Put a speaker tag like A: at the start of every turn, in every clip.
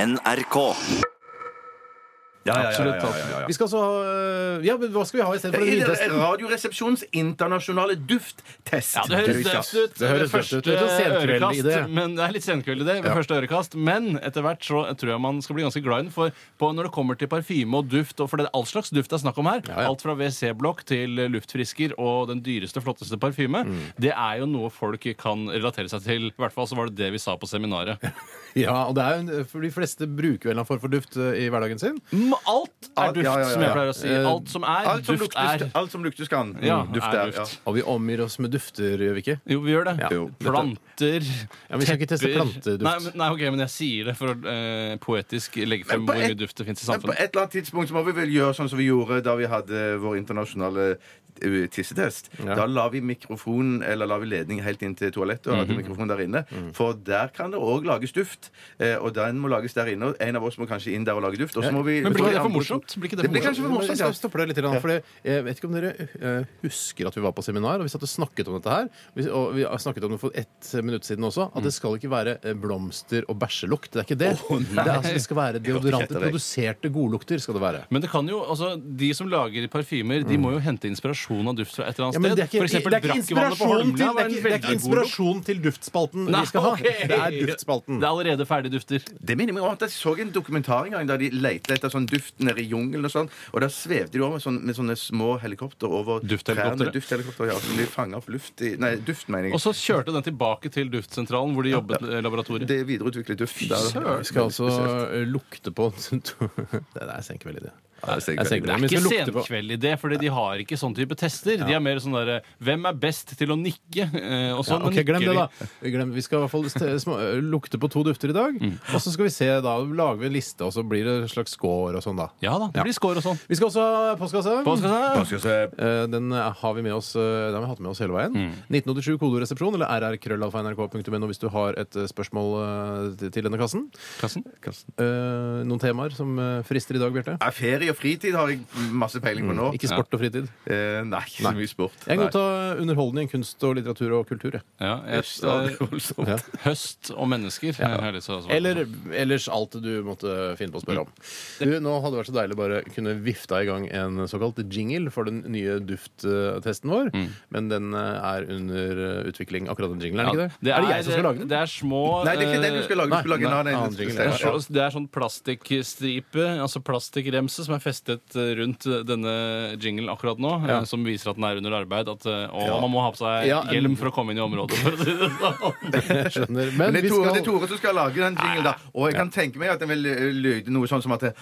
A: NRK.
B: Ja, ja,
C: Absolutt.
B: ja, ja, ja, ja.
C: Vi skal så øh, Ja, men hva skal vi ha istedenfor den
B: I
C: lydtesten?
B: Radioresepsjonens internasjonale dufttest.
D: Ja, det høres døvt ut.
C: Det høres
D: Første
C: døvt ut. Litt sånn senkveld i det.
D: ørekast, Men det er litt senkveld i det. ved Første ørekast. Men etter hvert så tror jeg man skal bli ganske glad i den. For på, når det kommer til parfyme og duft, og for det er all slags duft det er snakk om her,
C: ja.
D: alt fra WC-blokk til luftfrisker og den dyreste, flotteste parfyme,
C: Mm.
D: det er jo noe folk kan relatere seg til. I hvert fall så var det det vi sa på seminaret.
C: Ja, og det er jo en, for De fleste bruker vel en eller annen form for duft øh, i hverdagen sin.
D: Mm, Alt er
B: Alt-
D: duft,
B: ja, ja, ja,
D: som jeg
B: ja.
D: pleier å si.
C: Eh,
D: Alt som er,
B: Alt som,
D: duft
B: lukter,
D: er.
B: alt som lukter skal han.
D: Ja,
B: Mm, duft
D: er
B: er, ja.
D: duft.
C: Og vi omgir oss med dufter, gjør vi ikke?
D: Jo, vi gjør det.
B: Jo.
D: Planter,
C: Ja, men Vi skal ikke teste
D: tepper. Nei,
C: planteduft.
D: men- nei, ok, men jeg sier det for å eh, poetisk legge frem
B: Men på
D: hvor
B: et-
D: mye duft det fins i
B: Men på
D: samfunnet.
B: et eller annet tidspunkt så må vi vel gjøre sånn som vi gjorde da vi hadde vår internasjonale eh, tissetest. Da la vi mikrofonen, eller la vi ledningen helt inn til toalettet og hadde
D: Mhm.
B: mikrofonen der inne. For der kan det òg lages duft. eh, Og den må lages der inne. Og en av oss må kanskje inn der og lage duft. Og så må vi
D: Men blir ikke det for morsomt? Blir ikke
B: Det
D: det for
B: blir
D: morsomt?
B: kanskje for morsomt, ja.
C: Jeg stopper deg litt, grann, for det- jeg vet ikke om dere øh, husker at vi var på seminar, og vi satt og snakket om dette her. Vi- Og vi har snakket om det for ett minutt siden også,
D: Mm.
C: at det skal ikke være øh, blomster og bæsjelukt. Det er ikke det. det, er, altså, det skal være deodoranter.
B: etter deg.
C: Produserte godlukter skal det være.
D: Men det kan jo, altså, de som lager parfymer,
B: Mm.
D: de må jo hente inspirasjon av duft fra et eller
C: Ja, men
D: annet
C: det er
D: sted.
C: ikke,
D: For eksempel
C: det er ikke
D: Brakkevannet på
C: inspirasjon
D: Holmlia
C: til, det
D: var
C: er
D: en
C: ikke, det er ikke
D: veldig god lukt.
C: inspirasjon til duftspalten vi skal ha.
D: Nei, ok.
C: Det er duftspalten.
D: Det er allerede ferdige dufter.
B: Det minner meg om at jeg så en dokumentar en gang da de lette etter sånn duft nede i jungelen og sånn. Og da svevde de over med, sånn, med sånne små helikopter over
D: Dufthelikoptere?
B: trærne. Dufthelikopter, ja. Som de fanga opp luft i Nei, duft, mener
D: Og
B: jeg.
D: så kjørte den tilbake til duftsentralen hvor de jobbet eh, laboratoriet.
B: Det videreutviklet duft. der.
C: Vi skal altså lukte på Det er senkveld i det.
B: Ja, det er
C: Jeg tenker
D: Det
C: det,
D: er
C: men vi
D: ikke
C: skal lukte på-
D: senkveldidé, fordi de har ikke sånn type tester. De er mer sånn derre Hvem er best til å nikke? Eh, Og
C: Ja,
D: sånn
C: ok,
D: nikker
C: glem det,
D: de.
C: da. Glem, vi skal i hvert fall ste- små, ø, lukte på to dufter i dag. Og så skal vi se, da lager vi en liste, og så blir det en slags score og sånn, da.
D: Ja da,
C: Ja.
D: det blir score og sånn.
C: Vi skal også ha postkasse.
D: Postkasse.
C: Eh, Den eh, har vi med oss eh, Den har vi hatt med oss hele veien. 1987 kodoresepsjon eller rrkrøllalfa.nrk.no hvis du har et eh, spørsmål eh, til- til denne kassen.
D: Kassen.
C: Eh, Noen temaer som eh, frister i dag, Bjarte?
B: Ja, ferie og fritid har jeg masse peiling på nå.
C: Ikke sport og fritid.
B: Eh, nei, ikke så mye sport.
C: Jeg
B: Nei.
C: kan godta underholdning, kunst og litteratur og kultur. jeg.
D: Ja,
B: Yes, det var
D: et, eh,
B: voldsomt.
C: Ja.
D: høst og mennesker. Jeg har lyst til å svare på.
C: Eller ellers alt du måtte finne på å spørre om. Du, nå hadde det vært så deilig bare kunne vifta i gang en såkalt jingle for den nye dufttesten vår, men den eh, er under eh, utvikling, akkurat den jinglen, er den
D: Ja,
C: ikke det? Er det jeg som skal lage den?
D: Det er små eh,
B: Nei, det er ikke den du skal lage. Du
C: Nei,
B: skal lage en
C: nei,
B: annen.
C: annen jingle.
D: Det
B: Ja,
D: er,
B: ja.
D: så, det er sånn plastikkstripe, altså plastikkremse, som er festet eh, rundt eh, denne jinglen akkurat nå. eh, Som viser at den er under arbeid. At, eh, å, man må ha på seg
C: Ja, en-
D: hjelm for å komme inn i området. For å si det sånn.
C: Jeg skjønner.
B: Men
C: Men
B: det er
C: vi
B: Tore, det er
C: skal
B: Tore som skal lage den jinglen, da. Og jeg kan tenke meg at den vil eh, lyde noe sånn som at det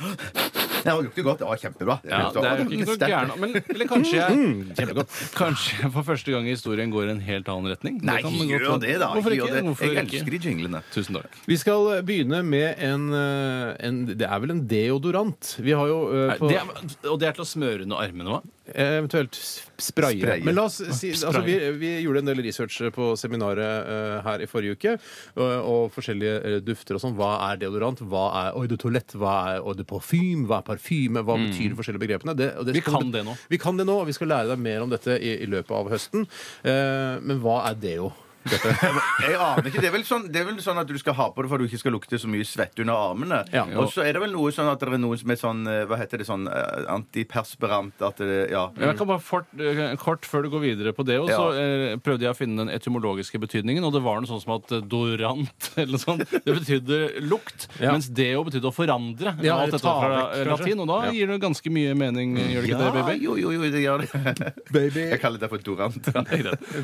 B: Ja, det lukter godt. Ja, kjempebra.
D: Ja, det er jo ikke noe gærent. Men eller kanskje jeg
C: Kjempegodt.
D: Kanskje jeg for første gang i historien går i en helt annen retning. Det
B: Nei,
D: kan man godt
B: gjør
D: ta.
B: det, da.
D: Hvorfor
B: Gjør
D: ikke?
B: det.
D: Hvorfor
B: Jeg
D: ikke?
B: elsker de jinglene.
D: Tusen takk.
C: vi skal eh, begynne med en, eh, en Det er vel en deodorant? Vi har jo eh,
D: Nei,
C: på,
D: det er, og det er til å smøre under armene, hva?
C: Eventuelt s- spraye.
B: Spraye.
C: Men la oss si,
D: spraye.
C: altså, vi, vi gjorde en del research på seminaret eh, her i forrige uke, og, og forskjellige eh, dufter og sånn. Hva er deodorant? Hva er eau de toilette? Hva er eau de parfyme? Hva er parfyme? Hva betyr de forskjellige begrepene? Det, og det
D: Mm. Vi
C: skal-
D: kan det nå.
C: Vi kan det nå, og vi skal lære deg mer om dette i, i løpet av høsten. Eh, men hva er deo?
B: Jeg aner ikke. Det er, vel sånn, det er vel sånn at du skal ha på det for at du ikke skal lukte så mye svette under armene.
C: Ja.
B: og så er det vel noe sånn at det er noe som er sånn eh, Hva heter det sånn eh, antiperspirant at det Ja.
D: Jeg kan bare fort, eh, kort før du går videre på det, og så eh, prøvde jeg å finne den etymologiske betydningen, og det var noe sånn som at eh, dorant eller noe sånt, det betydde lukt,
C: Ja.
D: mens deo betydde å forandre.
C: Ja,
D: alt
C: eller
D: dette
C: ta
D: fra
C: vekk,
D: eh,
C: kanskje.
D: latin, og da
C: Ja.
D: gir det ganske mye mening, eh, gjør det ikke det, baby?
B: jo, jo, jo, det gjør det.
C: Baby,
B: Jeg kaller det for dorant.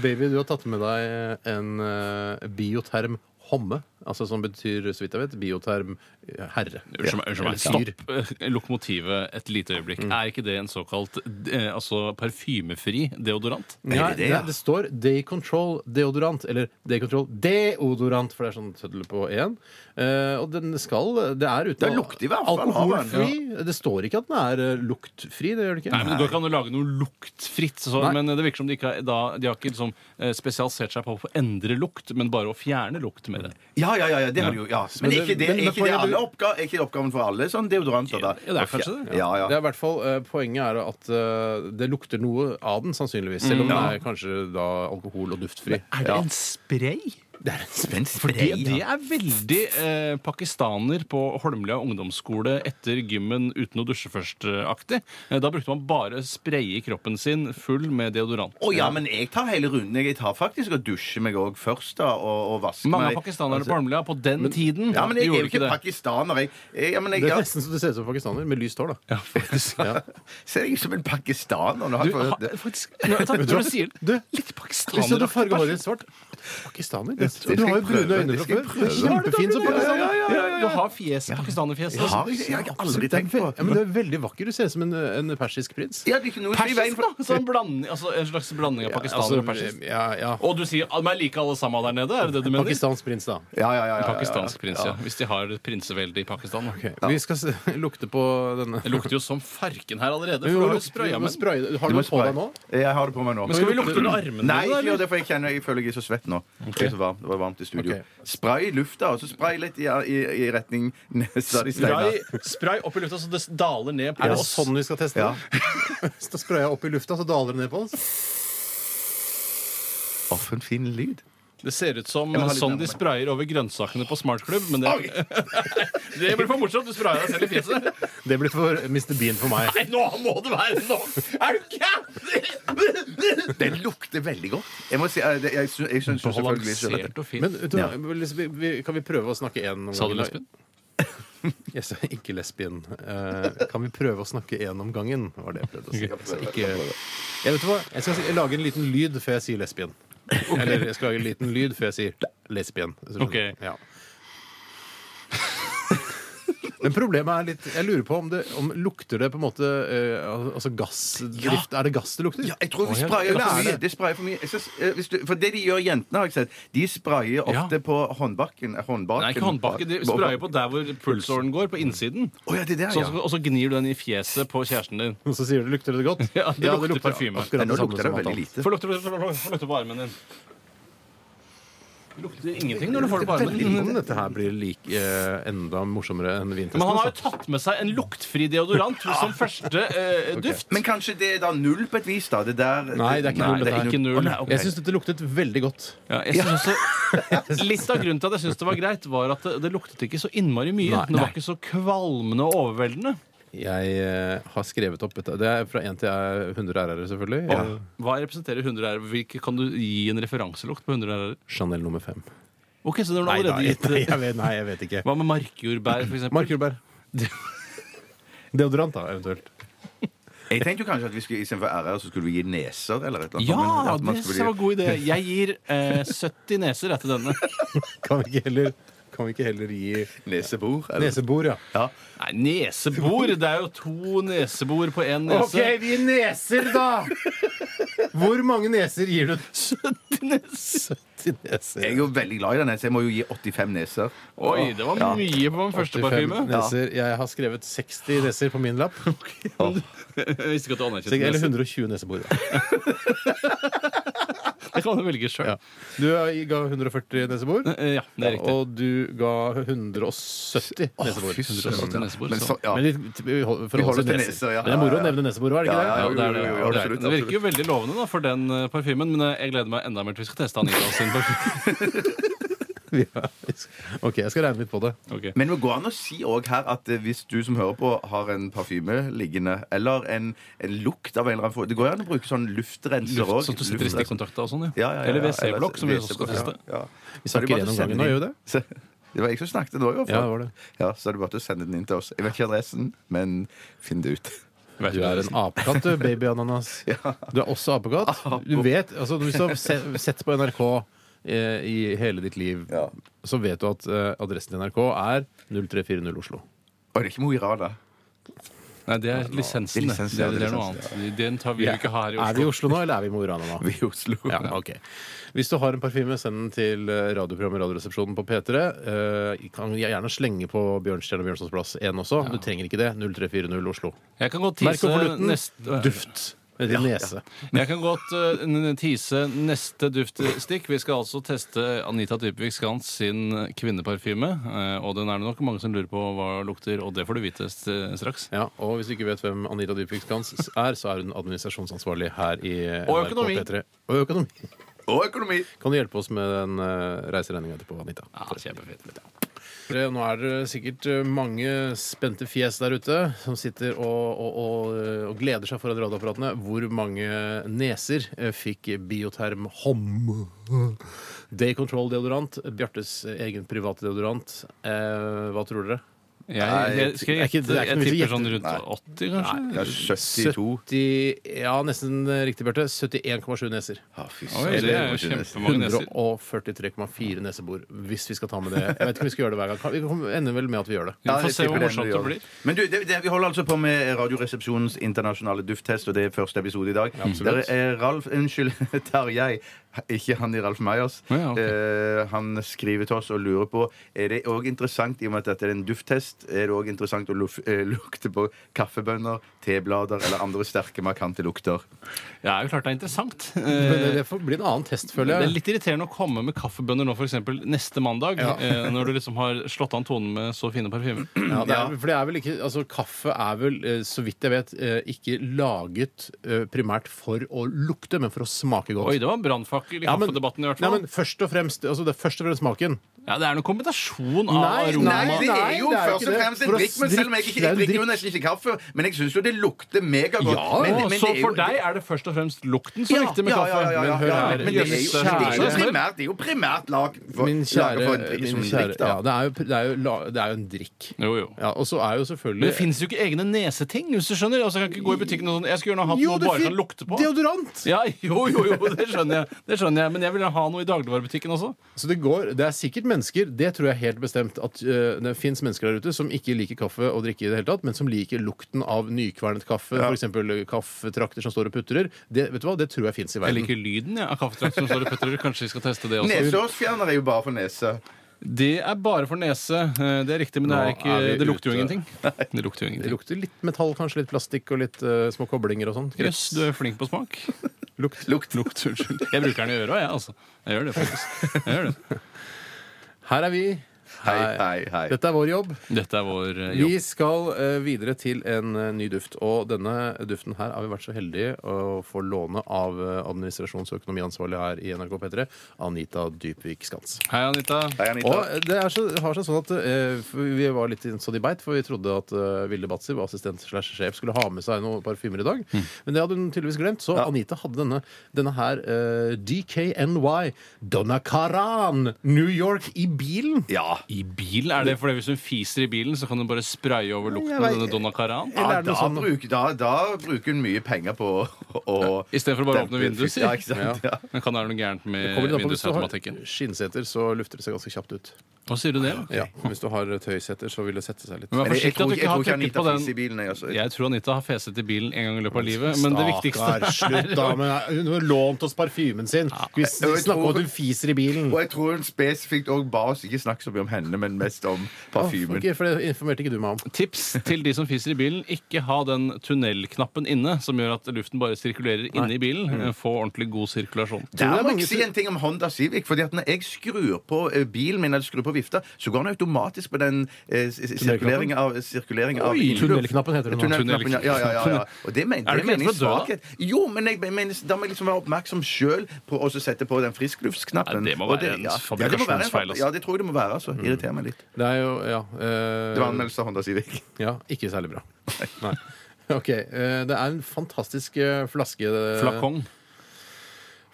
C: baby, du har tatt med deg en eh, bioterm homme, altså som betyr, så vidt jeg vet, bioterm eh, herre.
D: Unnskyld meg, unnskyld meg.
C: Eller fyr.
D: Stopp eh, lokomotivet et lite øyeblikk.
B: Mm.
D: Er ikke det en såkalt eh, altså parfymefri deodorant?
C: Ja,
B: Er det
C: det,
B: det, ja?
C: det står Day Control deodorant, eller Day Control deodorant, for det er sånn tøddel på én. Eh, og den skal Det er uten
B: Det lukter i hvert fall
C: alkoholfri. Det står ikke at den er eh, luktfri. Det gjør det ikke.
D: Nei, men Det går ikke an å lage noe luktfritt. Så,
C: Nei.
D: men det virker som de ikke har, da, de har ikke liksom, eh, spesialisert seg på å endre lukt, men bare å fjerne lukt med det.
B: Ja, ja, ja, ja, det har du jo. Ja. Men
C: Men
B: er ikke
C: det-
B: det,
C: men
B: er ikke
C: får
B: det
C: jeg-
B: alle oppga er ikke det oppgaven for alle sånn deodoranter? da?
D: Ja, det er kanskje det.
B: Ja,
C: Det
B: ja.
C: er i hvert fall, eh, Poenget er at eh, det lukter
B: Mm.
C: noe av den, sannsynligvis. Selv om den er kanskje da alkohol- og duftfri.
D: Er det en spray?
C: Det er en
B: Men
D: Fordi
B: spray,
D: det er veldig eh, pakistaner på Holmlia ungdomsskole etter gymmen uten å dusje først-aktig. Eh, da brukte man bare spraye kroppen sin full med deodorant.
B: Å ja, men jeg tar hele runden. Jeg tar faktisk og dusjer meg òg først, da, og, og vasker
D: Mange
B: meg.
D: av pakistanerne på Holmlia på den tiden
B: Ja, altså, men jeg er
D: gjorde
B: jo ikke pakistaner. Jeg, jeg, ja, men jeg,
C: Det er
B: ja,
C: nesten så du ser ut som pakistaner, med lyst hår, da.
D: Ja, faktisk.
C: Ja.
B: ser jeg ut som en pakistaner? Nå har
D: Du,
B: jeg fått-
D: ha, faktisk når, takk,
C: Vet du
D: når
C: hva?
D: du sier det.
C: Du,
D: Litt
C: Hvis du
D: pakistaner
C: hadde farga håret ditt svart Pakistaner? Det,
B: skal
C: du har
B: jeg
C: jo brune
B: prøve,
C: øyne
B: det
C: fra
B: skal jeg
C: før.
B: prøve.
C: Kjempefin som
D: Ja,
C: pakistaner.
D: ja, ja, ja, Du har fjes, pakistanerfjes.
B: Jeg har-
D: altså.
B: jeg har aldri
C: Absolutt, det er
B: tenkt på
C: ve- ja, men du er veldig vakker. Du ser ut som en, en persisk prins.
B: Ja, det er ikke noe i veien
D: Persisk,
B: for
D: da! Så en, blanding, altså, en slags blanding av pakistaner og persisk.
C: Altså, eh, ja, ja.
D: Og du sier at meg like alle sammen der nede? Er det det du mener?
C: Pakistansk prins, da.
B: Ja, ja, ja, ja, ja.
D: Pakistansk prins, ja. Hvis de har et prinsevelde i Pakistan. da.
C: Ok, Vi skal s- lukte på denne.
D: Det lukter jo som farken her allerede.
C: Vi
D: For
C: må
D: du har jo
C: lukte- vi
D: spraya
C: må
D: med.
C: spraye det. Har
B: Du
C: du
B: må
C: noe på
B: spraye.
C: deg nå?
B: Jeg har det på meg nå.
D: Men skal vi lukte under armene?
B: Nei, ikke gjør
D: eller?
B: det, for jeg, kjenner, jeg føler jeg er så svett nå. Det, er så varmt, det var varmt i studio.
C: Ok.
B: Spray i lufta, og så spray litt i, i, i retning nesa di, Steinar.
D: Spray, spray opp i lufta så det daler ned på
C: Er det
D: oss.
C: sånn vi skal teste
B: Ja.
C: det? Så sprayer jeg opp i lufta, så daler det ned på oss.
B: Å, for en fin lyd.
D: Det ser ut som
B: må ha litt
D: sånn de
B: nærmere.
D: sprayer over grønnsakene på smartklubb. Men det, det blir for morsomt. Du sprayer deg selv i fjeset.
C: Det blir for Mr. Bean for meg.
D: Nei, nå må det være nok! Er du gæren?
B: Den lukter veldig godt. Jeg må si, eh, det- jeg, sy- jeg syns jo selvfølgelig selv at-
D: Balansert og fin.
C: Men vet du, hva, vi, vi- kan vi prøve å snakke én om
D: Sa du
C: gangen?
D: lesbien?
C: Jeg sa ikke lesbien. Eh, kan vi prøve å snakke én om gangen? Var det jeg prøvde å si.
D: Ok.
C: Så ikke, jeg, vet du hva? jeg skal si- lage en liten lyd før jeg sier lesbien. Eller jeg skal lage en liten lyd før jeg sier lesbien. hvis du skjønner.
D: Ok.
C: Ja. Men problemet er litt Jeg lurer på om det om lukter det på en måte eh, al- Altså gassdrift Er det gass det lukter?
B: Ja, jeg tror vi
D: Å, ja,
B: sprayer for
D: ja, det er
B: mye. Det sprayer for mye. Jeg synes, eh, hvis du, for det de gjør, jentene, har jeg sett, de sprayer ofte
D: Ja.
B: på håndbakken. eh, håndbaken.
D: Nei, ikke håndbakken. De sprayer på der hvor pulsåren går, på innsiden.
B: Å ja, det er der,
D: Sånn,
B: ja.
D: og så gnir du den i fjeset på kjæresten din.
C: Og så sier du lukter det godt?
D: Ja, det lukter parfyme.
B: Nei,
C: Akkurat
B: Nå
C: det samme
B: lukter det
C: som alt
B: veldig
C: annet.
B: lite.
D: Få lukte få lukte- få lukte- få lukte på armen din. Det lukter ingenting når du får det på
C: Lurer på om
D: armen.
C: dette her blir like, eh, enda morsommere enn vintesten.
D: Men han har jo
C: altså.
D: tatt med seg en luktfri deodorant som første eh, duft.
B: Men kanskje det er da null på et vis, da? Det der
C: Nei, det er ikke null,
D: Det er ikke null.
B: Å, nei, ok.
C: Jeg syns dette luktet veldig godt.
D: Ja, jeg synes også, litt av grunnen til at jeg syns det var greit, var at det, det luktet ikke så innmari mye.
C: Nei,
D: det
C: nei.
D: var ikke så kvalmende og overveldende.
C: Jeg eh, har skrevet opp dette. Det er fra 1 til eh, 100 RR-er, selvfølgelig. Eh,
D: Hva representerer 100 ærer? Hvilke- Kan du gi en referanselukt på 100 ærer?
C: Chanel nummer 5.
D: Ok, så det har du allerede
C: jeg, nei,
D: gitt.
C: jeg vet, nei, jeg vet ikke.
D: Hva med markjordbær, for eksempel?
C: Mark Jordbær. Deodorant, da, eventuelt.
B: Jeg tenkte jo kanskje at vi skulle istedenfor RR, så skulle vi gi neser eller et eller annet.
D: Ja,
B: at man
D: det
B: skulle
D: var en god idé. Jeg gir eh, 70 neser etter denne.
C: Kan vi ikke heller, kan vi ikke heller gi
B: Nesebor. eller-
C: nesebor, ja?
B: Ja.
D: Nei, nesebor. Det er jo to nesebor på én nese.
C: vi gir neser, da! Hvor mange neser gir du?
D: 70 neser.
C: 70 neser.
B: Jeg er jo veldig glad i den, så jeg må jo gi 85 neser.
D: Oi, det var
B: Ja.
D: mye på den første
C: 85
D: parfyme.
C: neser. Jeg har skrevet 60 neser på min lapp.
D: Jeg visste ikke at du
C: Så jeg-
D: anerkjente
C: Eller
D: neser.
C: 120 nesebor. da.
D: Det kan du velge sjøl.
C: Ja. Du eh, ga 140 nesebor.
D: Eh, Ja, det er riktig.
C: Og du ga 170 nesebor.
B: fy søren.
D: 170 nesebor,
B: Men
D: så-
B: så- ja.
C: Men litt- vi holder, for
B: Vi holder
C: oss til
B: til
C: neser.
B: neser, ja.
C: Men det er moro
B: Ja,
C: å
B: ja.
C: nevne nesebor, er det ikke
B: Ja,
C: det?
B: ja,
D: Ja, det, er det.
B: Jo, jo, jo,
D: Ja, det, er
B: absolutt,
D: det. det virker jo veldig lovende da, for den eh, parfymen, men eh, jeg gleder meg enda mer til vi skal teste Anita sin parfyme.
C: Ja. OK, jeg skal regne litt på det.
D: Ok.
B: Men det går an å si òg her at eh, hvis du som hører på, har en parfyme liggende, eller en, en lukt av en eller annen form Det går jo an å bruke sånn luftrenser òg.
D: Luft, sånn at du sitter i stikkontakta og sånn, ja.
B: Ja, ja, ja,
D: Eller
B: ja,
D: WC-blokk, som vi også skal
B: WC-blokk,
D: teste.
B: Ja, ja. Så
C: Vi
B: er det
C: snakker
B: bare til
C: én
B: å
C: om
B: sende
C: gangen
B: den
C: nå, gjør
B: inn.
C: vi det?
B: Så- Det var jeg som snakket nå, i hvert
C: Ja,
B: fall.
C: det var det.
B: Ja, så er det bare til å sende den inn til oss. Jeg vet ikke adressen, men finn det ut.
D: Vet
C: Du er en apekatt, du, babyananas. Du er også apekatt. Du vet, altså Hvis du har se- sett på NRK eh, i hele ditt liv,
B: Ja.
C: så vet du at eh, adressen til NRK er 0340 Oslo.
B: Og det er ikke Mo i Rana.
D: Nei, det er lisensen, det.
B: lisensen,
D: Det er,
B: ja,
D: det er noe
B: lisensen,
D: annet. Den tar vi jo ikke her i
C: Er vi i
D: Oslo.
C: Oslo nå, eller er vi i Mo i Rana nå?
B: Vi i Oslo.
C: Ja, ok Hvis du har en parfyme, send den til eh, radioprogrammet Radioresepsjonen på P3. Eh, kan jeg gjerne slenge på Bjørnstjerne og Bjørnsons plass 1 også. Du trenger ikke det. 0340 Oslo.
D: Jeg kan godt
C: Merk
D: tise
C: konvolutten.
D: neste
C: Duft. Med din nese.
D: Jeg kan godt eh, n- n- tease neste duftstikk. Vi skal altså teste Anita Dybvik Skans sin kvinneparfyme. eh, Og den er det nok mange som lurer på hva lukter, og det får du vite s- straks.
C: Ja, og hvis du ikke vet hvem Anita Dybvik Skans er, så er hun administrasjonsansvarlig her i
D: Og
C: NRK
D: økonomi.
C: P3. Og økonomi.
B: Og økonomi.
C: Kan du hjelpe oss med den uh, reiseregninga etterpå, Anita?
D: Ja, kjempefint.
C: Dere, Nå er det sikkert eh, mange spente fjes der ute som sitter og, og, og, eh, og gleder seg foran radioapparatene. Hvor mange neser eh, fikk Bioterm HOM? Day Control-deodorant. Bjartes egen private deodorant. Eh, hva tror dere?
B: Nei,
D: Jeg, jeg, skal
C: det er ikke-
D: gjette,
C: det er ikke
D: jeg
C: noe
D: tipper
C: å
D: sånn
C: gjette.
D: rundt 80, kanskje?
B: Ja, 72.
C: 70, ja, nesten eh, riktig, Bjarte. 71,7 neser.
B: Ja, fy
D: Oi,
B: søren,
D: det er
B: det
D: jo
B: er jo ikke-
D: kjempemange neser.
C: 143,4 nesebor, hvis vi skal ta med det. Jeg vet ikke om vi skal gjøre det hver gang. Kan- Vi kommer- ender vel med at vi gjør det.
D: Vi får
B: jeg
D: se
B: tipper
D: hvor
B: det
D: morsomt
B: ender
D: det
B: vi
D: blir.
B: gjør. Men du, det, det, vi holder altså på med Radioresepsjonens internasjonale dufttest, og det er første episode i dag. Der
D: absolutt.
B: er Ralf Unnskyld, Tarjei. Ikke han i Ralf Meyers.
D: Ja, ok.
B: eh, han skriver til oss og lurer på Er det òg interessant, i og med at dette er en dufttest, er det òg interessant å luf, eh, lukte på kaffebønner, teblader eller andre sterke, markante lukter?
D: Det er jo klart det er interessant.
C: Men
D: Eh,
C: det- det får bli en annen test,
D: Det
C: føler
D: er
C: jeg.
D: litt irriterende å komme med kaffebønner nå, f.eks. neste mandag, eh, når du liksom har slått an tonen med så fine parfymer.
C: Ja, det er, for det er vel ikke, altså Kaffe er vel, eh, så vidt jeg vet, eh, ikke laget eh, primært for å lukte, men for å smake godt.
D: Oi, det var en brannfakkel i
C: Ja, men-
D: kaffedebatten, i hvert
C: Nei,
D: fall.
C: men først og fremst, altså Det er først og fremst smaken.
D: Ja, det er noen kombinasjon av
C: Nei,
B: Nei,
D: aroma
B: det er jo
C: Nei, det er jo
B: først
C: ikke
B: og
C: det.
B: fremst en
C: For å
B: drikk, men selv om jeg ikke jeg
C: drikke- det er en
B: drikker jo
C: drikk.
B: nesten ikke kaffe, men jeg syns jo det lukter megagodt.
C: Ja,
B: men,
D: Å,
B: men det
D: Så
B: er jo-
D: for deg er det først og fremst lukten
B: Ja,
D: som er viktig med
B: ja,
D: kaffe?
B: ja, ja, ja,
C: Men hør
B: ja,
C: her,
B: men det er jo-
C: Jøss,
B: det er jo
C: kjære-
B: primært- det er jo primært lag for,
C: Min
B: laget
C: kjære,
B: for en drikk som
C: min
B: en
C: kjære
B: drikk, da.
C: ja, altså, det, er jo, det, er jo, la- det er jo en drikk.
D: Jo, jo.
C: Ja, Og så er jo selvfølgelig
D: Men det fins jo ikke egne neseting, hvis du skjønner. Altså, jeg kan ikke gå i butikken og sånn Jeg skulle gjerne hatt
C: Jo,
D: noe
C: det
D: bare
C: fin-
D: kan lukte på.
C: Deodorant!
D: Ja, jo, jo, jo, det skjønner jeg. Det skjønner jeg. Men jeg vil ha noe i dagligvarebutikken også.
C: Så det går, det er sikkert mennesker, det tror jeg helt bestemt, at øh, det fins mennesker der ute som ikke liker kaffe å drikke i det hele tatt, men som liker lukten av nykvernet kaffe, for f.eks. kaffetrakter som står og putrer. Det, vet du hva, det tror jeg fins i
D: Jeg
C: verden.
D: liker lyden jeg, av kaffetrakt som står i putter. Kanskje vi skal teste det også.
B: Nesehårsfjerner er jo bare for nese.
D: Det er bare for nese. Eh, Det er riktig, men det, er
C: Nå
D: ikke,
C: er vi
D: det lukter jo
C: ute.
D: ingenting. Det lukter jo
C: Det
D: ingenting.
C: lukter litt metall, kanskje litt plastikk og litt øh, små koblinger og sånn.
D: Jøss, du er flink på smak.
C: Lukt.
D: Lukt, lukt, unnskyld. Jeg bruker den i øra, jeg, altså. Jeg gjør det faktisk. Jeg gjør det.
C: Her er vi.
B: Hei, hei, hei.
C: Dette er vår jobb.
D: Dette er vår eh, jobb.
C: Vi skal eh, videre til en eh, ny duft. Og denne duften her har vi vært så heldige å få låne av eh, administrasjons- og økonomiansvarlig her i NRK P3, Anita Dybvik Skans.
D: Hei, Anita.
B: Hei, Anita.
C: Og det er så, har seg sånn at eh, for Vi var litt sånn i beit, for vi trodde at eh, Vilde Batzer, vår assistent slash sjef, skulle ha med seg noen parfymer i dag.
D: Mm.
C: Men det hadde hun tydeligvis glemt, så Anita hadde denne, denne her eh, DKNY Donna Karan New York i bilen.
B: Ja.
D: I bilen? Er det fordi hvis hun fiser i bilen, så kan hun bare spraye over lukten av
C: vet-
D: denne Donna Karan?
B: Ja,
C: Eller er det noe
B: da,
C: sånn-
B: bruk, da, da bruker hun mye penger på å- å
D: I stedet for å bare åpne
B: dempe-
D: vinduet, sier
B: Ja, ikke sant? Ja.
D: Men kan det være noe gærent med
C: Kommer det an på hvis du har
D: vindusautomatikken?
C: skinnseter, så lufter det seg ganske kjapt ut.
D: Hva sier du det?
C: Ja, men Hvis du har tøysetter, så vil det sette seg litt.
D: Men vær
B: Men jeg, jeg,
D: forsiktig
B: tror,
D: at
B: jeg
D: du ikke
B: tror
D: har
B: ikke
D: trykket
B: Anita
D: på den.
B: fiser i bilen. Jeg, altså.
D: Jeg tror Anita har feset i bilen en gang i løpet av livet, men det viktigste
C: Stakkars, slutt da med Hun har lånt oss parfymen sin. Vi snakker om at hun fiser i bilen.
B: Og jeg tror hun spesifikt òg ba oss ikke snakke så mye om henne, men mest om parfymen.
C: Ok, for det informerte ikke du meg om.
D: Tips til de som fiser i bilen, ikke ha den tunnelknappen inne, som gjør at luften bare sirkulerer inne i bilen.
B: Mm.
D: Få ordentlig god sirkulasjon.
C: Tror det
B: Der
C: er
B: må
C: mange
B: jeg si
C: som-
B: en ting om Honda Civic. Fordi at Når jeg skrur på eh, bilen min, eller skrur på vifta, så går den automatisk på den eh, s- s- sirkulering av, sirkulering av
C: Oi,
B: innluft.
C: tunnelknappen heter det nå.
B: Tunnelknappen, ja, ja, ja, ja. Og det mener,
D: Er
B: det
D: du ikke redd
B: mener jeg
D: for å dø, da?
B: svakhet. Jo, men jeg mener, da må jeg liksom være oppmerksom sjøl på å så sette på den friskluftsknappen.
D: Nei, det må
B: Og
D: være
B: det
D: en
B: må være en
D: fabrikasjonsfeil, altså.
B: Ja, det tror jeg det må være. altså. Irriterer meg litt.
C: Det er jo ja,
B: Det var
C: eh,
B: anmeldelse av Honda Civic.
C: ja Ikke særlig bra. Nei. Ok, eh, Det er en fantastisk eh, flaske eh,
D: Flakong.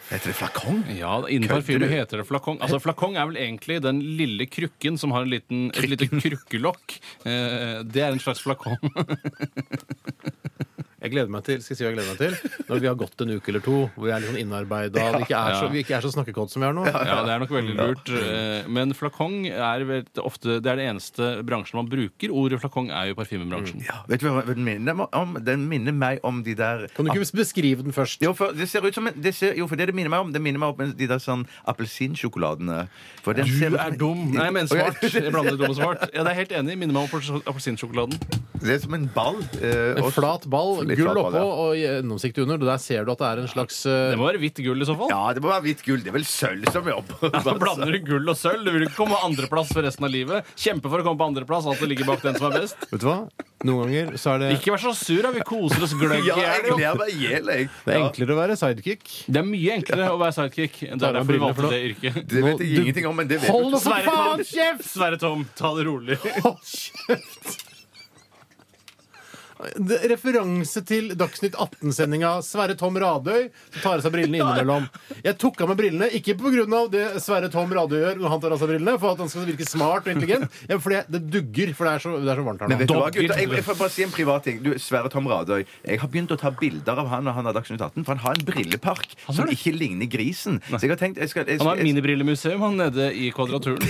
B: Heter det flakong?
D: Ja, Innen
B: Kødder
D: parfyme
B: du?
D: heter det flakong. Altså, Flakong er vel egentlig den lille krukken som har en liten, et lite krukkelokk. Eh, Det er en slags flakong.
C: Jeg gleder meg til, skal jeg si hva jeg gleder meg til når vi har gått en uke eller to, hvor jeg er litt sånn innarbeida, det ikke er så,
D: Ja.
C: vi ikke er så snakkekåte som vi er nå.
D: Ja, det er nok veldig lurt. Eh, Men flakong er vel ofte Det er det eneste bransjen man bruker. Ordet flakong er jo parfymebransjen.
B: Ja, vet du hva den minner meg om? Den minner meg om de der
C: Kan du ikke beskrive den først?
B: Jo, for det ser ut som en, det ser, jo, for det det minner meg om, det minner meg om de der sånn appelsinsjokoladene. For den
D: Du
B: ser-
D: er dum! Nei, men
B: Å, ja.
D: smart. Jeg blander dum og smart. Ja, det er jeg helt enig. i. Minner meg om appels- appelsinsjokoladen.
B: Det er som en ball. eh,
C: En
B: og-
C: flat ball,
B: Litt
C: gull
B: flat ball,
C: oppå
B: ja.
C: og gjennomsiktig under. Der ser du at det er en slags
D: Det
C: eh,
D: må være hvitt gull i så fall.
B: Ja, det må være hvitt gull. Det er vel sølv som jobber.
D: Da blander du gull og sølv. Du vil ikke komme på andreplass for resten av livet. Kjempe for å komme på andreplass. Alt det ligger bak den som er best.
C: Vet du hva? Noen ganger så er det
D: Ikke vær så sur, da. Vi koser oss gløgg i
B: Ja, jeg
D: hjel. jo.
B: gleder meg i hjel, jeg.
C: Det er
B: Ja.
C: enklere å være sidekick.
D: Det er mye enklere å være sidekick. Det
C: Ta
D: er
C: deg
D: derfor vi
C: brillene for
D: valgte det yrket.
B: Det vet
C: Nå,
B: jeg
C: du-
B: ingenting om, men det vet
C: Hold
B: du.
C: nå for
D: Sverre Tom.
C: faen kjeft!
D: Sverre Tom, ta det rolig.
C: Hold kjeft! Det, referanse til Dagsnytt 18-sendinga. Sverre Tom Radøy som tar av seg brillene innimellom. Jeg tok av meg brillene ikke pga. det Sverre Tom Radøy gjør når han tar av seg brillene, for at han skal virke smart og intelligent. Ja, fordi det dugger, for det er så, det er så varmt her
B: Men vet du
C: nå.
B: hva, gutter? Jeg, jeg får bare si en privat ting. Du, Sverre Tom Radøy. Jeg har begynt å ta bilder av han og han har Dagsnytt 18, for han har en brillepark som
D: det?
B: ikke ligner grisen. Så jeg har tenkt jeg skal, jeg,
D: Han har
B: jeg-
D: minibrillemuseum han nede i Kvadraturen.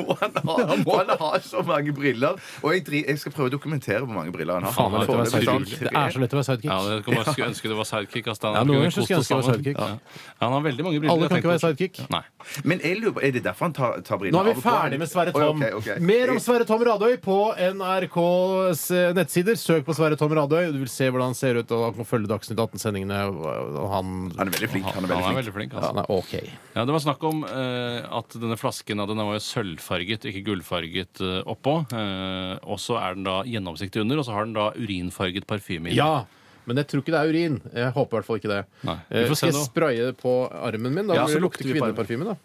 B: må han ha. Han har så mange briller. Og jeg, dri- jeg skal prøve å dokumentere hvor mange briller han har.
C: Faen, det er lett å
B: Foreløpig
C: være
B: sånn
C: sidekick. Det er så lett å være sidekick.
D: Ja, det kan man skulle ønske det var sidekick. ass. Han
C: Ja,
D: har
C: noen
D: kunnet
C: ganger skulle
D: kost
C: jeg ønske jeg var
D: oss
C: sidekick.
D: sammen. Ja. Han har veldig mange briller.
C: Alle kan
D: jeg
C: ikke være
D: tenkte på.
C: sidekick.
D: Nei.
B: Men jeg lurer på, er det derfor han tar, tar brillene
C: Nå er
B: av
C: vi
B: og på?
C: ferdig med Sverre
B: Oi,
C: Tom.
B: ok, ok.
C: Mer om Sverre Tom Radøy på NRKs eh, nettsider. Søk på Sverre Tom Radøy. Du vil se hvordan han ser ut, og han kan følge Dagsnytt 18-sendingene. og Han,
B: Han er veldig flink. Han er
D: Han
B: veldig flink.
D: er veldig flink.
C: ja,
D: Altså.
C: han er OK.
D: Ja, det var snakk om eh, at denne flasken ja, den var jo sølvfarget, ikke gullfarget eh, oppå. Eh, og så er den da gjennomsiktig under, og så har den da urinfarget parfyme i.
C: Ja! Men jeg tror ikke det er urin. Jeg håper i hvert fall ikke det.
D: Nei, vi
C: Eh,
D: får se
C: Skal jeg
D: nå.
C: spraye det på armen min? Da
D: Ja,
C: vil
D: så
C: det lukte
D: lukter vi på armen.
C: kvinneparfyme, da.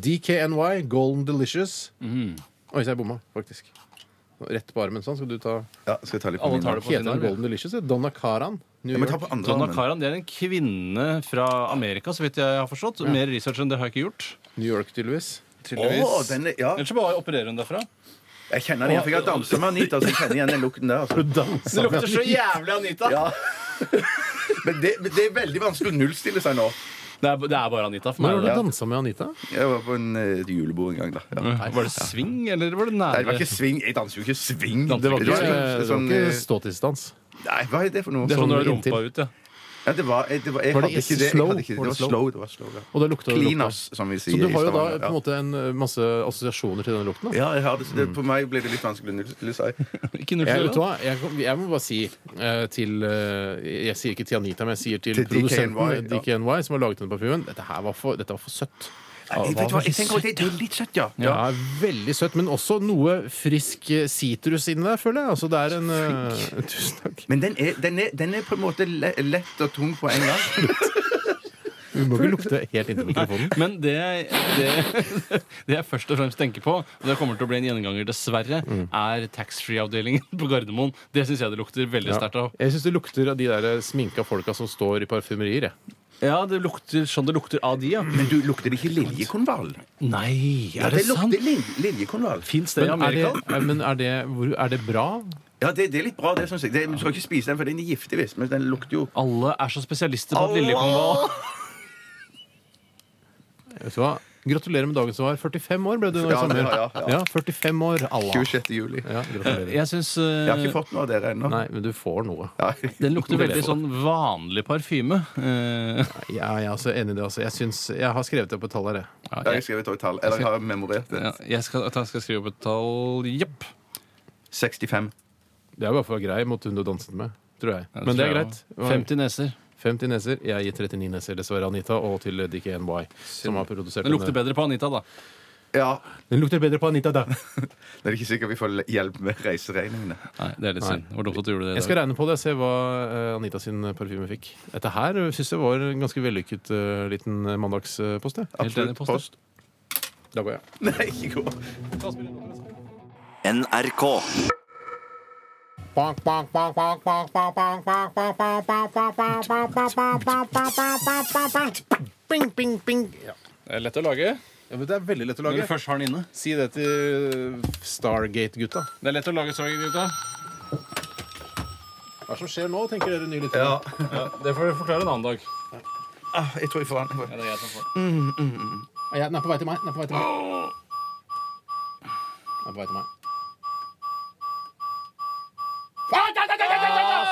C: DKNY Golden Delicious.
D: Mhm.
C: Oi, så jeg bomma, faktisk. Rett på armen. Sånn skal du ta.
B: Ja, skal jeg ta litt på
D: Alle
B: min
D: tar
B: arm?
D: det på
C: Heter
D: sin
C: den
D: arm.
C: Golden Delicious? Donna Karan. New
B: Ja, men ta
C: York.
B: på andre
D: Donna
B: armen.
D: Karan det er en kvinne fra Amerika, så vidt jeg har forstått. Mer research enn det har jeg ikke gjort.
C: New York, tydeligvis.
B: Å, den er- ja.
D: Ellers så bare opererer hun derfra.
B: Jeg kjenner den igjen, for jeg har dansa med Anita, så jeg kjenner igjen den lukten der. Altså.
D: Det lukter så jævlig Anita!
B: Ja. Men det, men det er veldig vanskelig å nullstille seg nå.
D: Det, er, det er bare Anita
C: Når
D: for meg.
C: har
D: det.
C: du dansa med Anita?
B: Jeg var på en, eh, et julebord en gang, da.
C: Mm.
B: Ja. Nei,
D: Var det swing, eller var det nære?
B: det var ikke swing. Jeg danser jo ikke swing.
D: Det var ikke-
B: sånn-
C: Det var
B: sånn,
C: ikke
B: eh,
C: ståtidsdans.
B: Nei, hva er det for noe?
D: Det er sånn du har
C: inntil.
D: rumpa ut, ja.
B: Ja, det var, jeg, det var, jeg
C: Var det
B: hadde ikke det. Jeg
C: slow?
B: hadde ikke, det var
C: Var det slow?
B: slow. Det var slow ja.
C: Og det lukta
B: Cleaners, som vi sier
C: Så du har jo da
B: Stavanger,
C: på en måte Mm. en eh, masse assosiasjoner til den lukten? Da.
B: Ja, jeg har det, så det, på meg ble det litt vanskelig å nullstille seg.
D: Ikke
C: Jeg,
D: nullstille.
C: vet du hva? Jeg, kom- jeg må bare si eh, til eh, Jeg sier ikke til Anita, men jeg sier til,
B: Til
C: produsenten
B: DKNY,
C: DKNY, som har laget denne parfymen. Dette her var for, dette var for søtt.
B: Jeg, vet du hva, jeg tenker at det, det er litt søtt, ja.
C: Ja, Veldig søtt, men også noe frisk eh, sitrus inni der, føler jeg. Altså, det er en eh, Tusen takk.
B: Men den er, den, er, den er på en måte le- lett og tung på en gang.
C: Du må ikke lukte helt inntil mikrofonen.
D: Men det, det, det jeg først og fremst tenker på, og det kommer til å bli en gjenganger dessverre, er taxfree-avdelingen på Gardermoen. Det syns jeg det lukter veldig sterkt av.
C: Jeg syns det lukter av de der eh, sminka folka som står i parfymerier. Jeg.
D: Ja, det lukter sånn det lukter av de, ja.
B: Men du, lukter det ikke liljekonvall?
D: Nei,
B: Ja,
D: er det,
B: det
D: sant?
B: lukter lil- liljekonvall.
D: Fins det i
C: Men, er det,
D: Amerika?
C: eh, men er, det, hvor, er det bra?
B: Ja, det, det er litt bra, det syns jeg. Det, men du skal ikke spise den, for den er giftig, visst. Men den lukter jo
D: Alle er så spesialister på at
B: Åh!
D: liljekonvall
C: Vet du hva? Gratulerer med dagen som var. 45 år ble du nå i
B: Ja,
C: sommer.
B: ja, ja, ja.
C: 45 år, Allah.
B: 26. juli.
C: Ja, gratulerer.
D: Jeg syns
B: Jeg har ikke fått noe av dere ennå.
C: Nei, men du får noe.
B: Nei.
D: den lukter
C: Det er
D: veldig
C: for-
D: sånn vanlig parfyme. Eh,
C: Ja, jeg er også enig i det. Altså. Jeg, syns, jeg har skrevet det på tallet. jeg.
B: Jeg har skrevet et tall. Eller jeg har memorert det.
D: ja, jeg, skal, at jeg skal skrive opp et tall. Jepp.
B: 65.
C: Det er bare for å være grei mot hun du danset med. Tror jeg. Men det er greit.
D: 50 neser.
C: 50 neser. Jeg gir 39 neser, dessverre, Anita, og til DKNY, som har produsert
D: Den lukter
C: denne.
D: bedre på Anita, da.
B: Ja.
C: Den lukter bedre på Anita, da.
B: Det er ikke sikkert vi får hjelp med reiseregningene.
D: Nei, det er litt synd. Det var dumt at du gjorde det. i
C: Jeg
D: dag.
C: skal regne på det og se hva eh, Anita sin parfyme fikk. Dette her syns jeg var en ganske vellykket eh, liten mandagspost. jeg.
D: Helt
B: Absolutt.
D: enig, Poster.
B: Post.
C: Da går jeg.
B: Nei, ikke gå.
A: NRK.
C: Bing, bing, bing. Ja.
D: Det er lett å lage.
C: Ja, men det er veldig lett å
D: Når du
C: lage.
D: først har den inne.
C: Si det til Stargate-gutta.
D: Det er lett å lage sorg, gutta.
C: Hva er det som skjer nå, tenker dere nye lyttere?
B: Ja.
D: Det får du forklare en annen dag.
B: Ah, jeg tror jeg får den.
D: det er jeg som får.
C: Ja, Den er på vei til meg. Den er på vei til meg. Den er på vei til meg.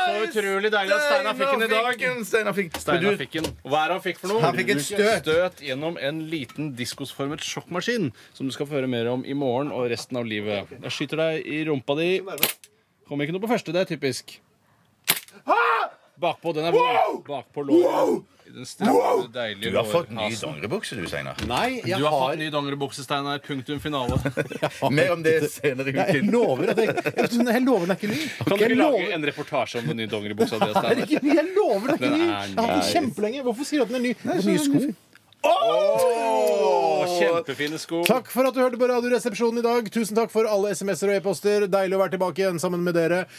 D: Så utrolig deilig at Steinar fikk den i dag.
B: Steinar fikk den. Men
D: Steinar
B: du-
D: fikk den. Og hva er det han fikk for noe?
B: Han fikk et støt.
D: støt gjennom en liten diskosformet sjokkmaskin, som du skal få høre mer om i morgen og resten av livet. Jeg skyter deg i rumpa di. Kom ikke noe på første, det er typisk. Bakpå, den er vond. Bakpå låret. I Den stramme, deilige
B: Du har fått ny
D: lårhalsen.
B: dongeribukse, du, Steinar.
A: Nei, jeg
D: Du har fått
A: har
D: ny dongeribukse, Steinar. Punktum finale.
B: Mer om det senere i
C: Jeg
B: uken.
C: lover at jeg, jeg, jeg lover den er ikke ny.
D: Kan du
C: Jeg
D: ikke lage
C: lover-
D: en reportasje om den nye dongeribuksa di,
C: Er det
D: Steinar?
C: ikke ny? Jeg lover den er ikke
D: Den
C: ny!
D: er
C: Jeg har hatt den kjempelenge. Hvorfor sier du at den er ny? Nei, nye sko.
D: Å, Kjempefine sko.
C: Takk for at du hørte på Radioresepsjonen i dag. Tusen takk for alle SMS-er og e-poster. Deilig å være tilbake igjen sammen med dere.